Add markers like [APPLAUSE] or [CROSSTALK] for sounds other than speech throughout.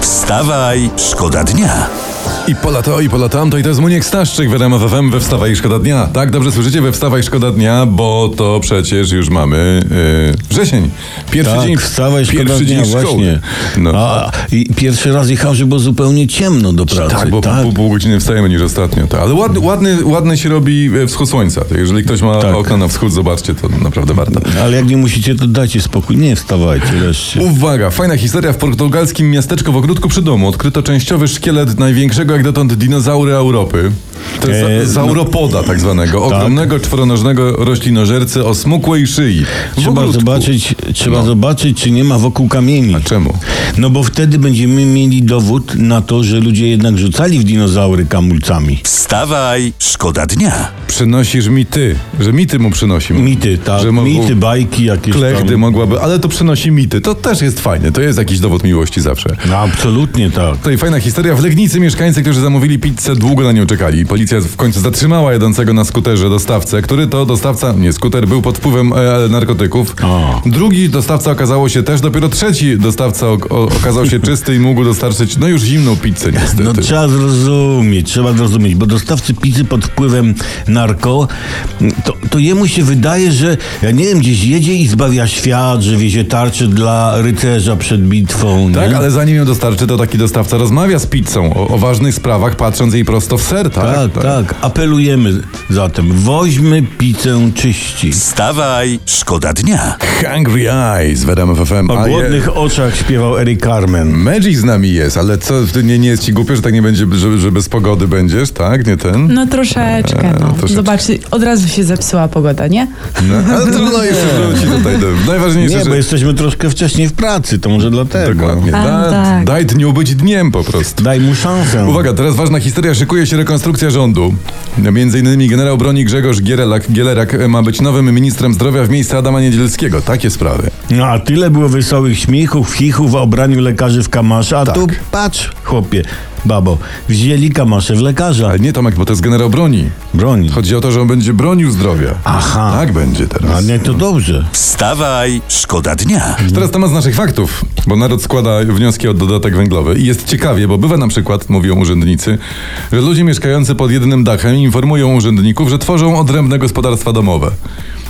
Wstawaj, szkoda dnia. I pola to, i pola tamto, i to jest Muniek Staszczyk w RMF FM we Wstawaj Szkoda Dnia. Tak, dobrze słyszycie, we Wstawaj Szkoda Dnia, bo to przecież już mamy yy, wrzesień. Pierwszy Tak, dzień, wstawaj, szkoda pierwszy dnia, dzień szkoły. właśnie. No. A, i pierwszy raz jechałem, że było zupełnie ciemno do pracy. Tak, bo po- Po, pół godziny wstajemy niż ostatnio. Tak. Ale ładny, ładny, ładny się robi e, wschód słońca. Tak, Jeżeli ktoś ma Tak. okna na wschód, zobaczcie, to naprawdę warto. Ale jak nie musicie, to dajcie spokój. Nie wstawajcie wreszcie. Uwaga, fajna historia. W portugalskim miasteczku w ogródku przy domu odkryto częściowy szkielet największego jak dotąd dinozaura Europy. To jest Eee, za- zauropoda tak zwanego, ogromnego czworonożnego roślinożercy o smukłej szyi. W Trzeba ogródku. No. zobaczyć, trzeba zobaczyć, czy nie ma wokół kamieni. Czemu? No bo wtedy będziemy mieli dowód na to, że ludzie jednak rzucali w dinozaury kamulcami. Wstawaj, szkoda dnia. Przynosisz mi ty, że mity mu przynosi. Mity, tak. Że mo- Mity, bajki jakieś Klechdy tam. mogłaby, ale to przynosi mity. To też jest fajne, to jest jakiś dowód miłości zawsze. No, absolutnie tak. Tutaj fajna historia. W Legnicy mieszkańcy, którzy zamówili pizzę, długo na nią czekali. Policja w końcu zatrzymała jadącego na skuterze dostawcę, który to dostawca, nie skuter, był pod wpływem e, narkotyków. O. Drugi dostawca okazało się też, dopiero trzeci dostawca ok- o, okazał się czysty i mógł dostarczyć, no już zimną pizzę niestety. No trzeba zrozumieć, trzeba zrozumieć, bo dostawcy pizzy pod wpływem narko, to, to jemu się wydaje, że ja nie wiem, gdzieś jedzie i zbawia świat, że wiezie tarczy dla rycerza przed bitwą. Tak, nie? ale zanim ją dostarczy, to taki dostawca rozmawia z pizzą o, o ważnych sprawach, patrząc jej prosto w ser, tak? Tak, tak. Apelujemy zatem. Woźmy pizzę czyści. Wstawaj, szkoda dnia. Hungry Eyes w RMF FM. O A je- głodnych oczach śpiewał Eric Carmen. Magic z nami jest, ale co, nie, nie jest ci głupio, że tak nie będzie, że, że bez pogody będziesz, tak? Nie ten? No troszeczkę, no. troszeczkę. Zobaczcie, od razu się zepsuła pogoda, nie? No, ale trudno jeszcze wróci tutaj. do- Najważniejsze, Nie, że... bo jesteśmy troszkę wcześniej w pracy, to może dlatego. Dokładnie. A, Da, tak. Daj dniu być dniem po prostu. Daj mu szansę. Uwaga, teraz ważna historia. Szykuje się rekonstrukcja rządu. Między innymi generał broni Grzegorz Gierelak, Gielerak ma być nowym ministrem zdrowia w miejsce Adama Niedzielskiego. Takie sprawy. No a tyle było wesołych śmiechów, chichów w obraniu lekarzy w kamasza, Tak. a tu patrz, chłopie, babo, wzięli kamasze w lekarza. Ale nie Tomek, bo to jest generał broni. Broni. Chodzi o to, że on będzie bronił zdrowia. Aha. Tak będzie teraz. A nie, to dobrze. Wstawaj, szkoda dnia. Teraz temat z naszych faktów, bo naród składa wnioski o dodatek węglowy i jest ciekawie, bo bywa na przykład, mówią urzędnicy, że ludzie mieszkający pod jednym dachem informują urzędników, że tworzą odrębne gospodarstwa domowe.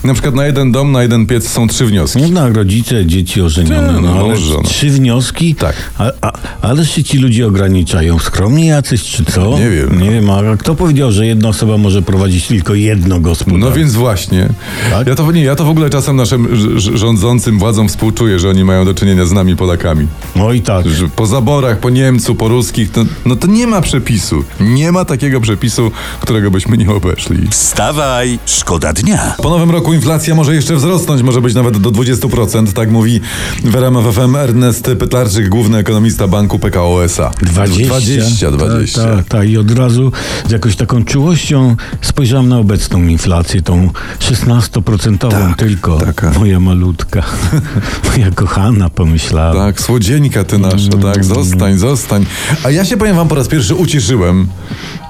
Na przykład na jeden dom, na jeden piec są trzy wnioski. Nie na rodzice, dzieci ożenione, Nie, no, no ale mąż, żona. trzy wnioski? Tak. A, a, ale się ci ludzie ograniczają? Skromnie jacyś, czy co? Nie wiem. no. Nie wiem, a kto powiedział, że jedna osoba może prowadzić tylko jedno gospodarstwo? No więc właśnie. Tak? Ja to, nie, ja to w ogóle czasem naszym ż- ż- rządzącym władzom współczuję, że oni mają do czynienia z nami Polakami. Oj tak. Że po zaborach, po Niemcu, po ruskich, to, no to nie ma przepisu. Nie ma takiego przepisu, którego byśmy nie obeszli. Wstawaj, szkoda dnia. Po nowym roku inflacja może jeszcze wzrosnąć, może być nawet do 20%, tak mówi w RMF FM Ernest Pytlarczyk, główny ekonomista banku PKO S.A. 20. 20, 20. Tak, tak, tak. I od razu z jakąś taką czułością spojrzałem na obecną inflację, tą 16% tylko. Tak, taka. Moja malutka, [LAUGHS] moja kochana, pomyślałem. Tak, słodzieńka ty nasza, tak, zostań, zostań. A ja się powiem wam po raz pierwszy ucieszyłem,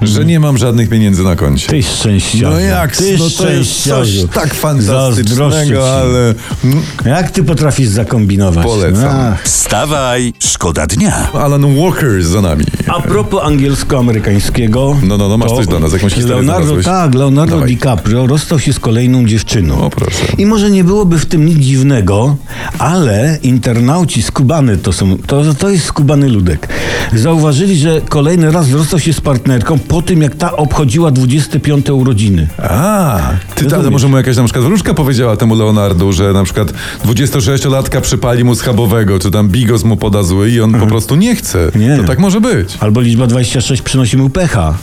że nie mam żadnych pieniędzy na koncie. Ty szczęściarzu. No jak, ty no to jest coś szczęściarzu. tak Zazdroszczę ci. fantastycznego, ale... Mm, Jak ty potrafisz zakombinować? No. Polecam. Ach. Wstawaj, szkoda dnia. Alan Walker za nami. A propos angielsko-amerykańskiego. No, no, no, masz coś dla nas, jakąś historię Leonardo, znalazłeś? tak, Leonardo Dawaj. DiCaprio rozstał się z kolejną dziewczyną. O, proszę. I może nie byłoby w tym nic dziwnego, ale internauci skubany to są, to, to jest skubany ludek. Zauważyli, że kolejny raz rozstał się z partnerką po tym, jak ta obchodziła 25 urodziny. A, ty, ale Rozumiesz. może mu jakaś na przykład wróżka powiedziała temu Leonardu, że na przykład 26-latka przypali mu schabowego, czy tam bigos mu poda zły i on po prostu Mhm. nie chce. Nie. To tak może być. Albo liczba 26 przynosi mu pecha.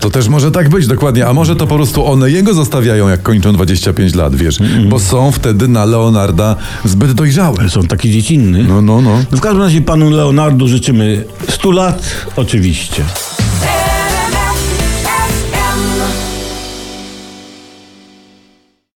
To też może tak być, dokładnie. A może to po prostu one jego zostawiają, jak kończą 25 lat, wiesz? Bo są wtedy na Leonarda zbyt dojrzałe. Są taki dziecinny. No, no, no. W każdym razie panu Leonardu życzymy 100 lat, oczywiście.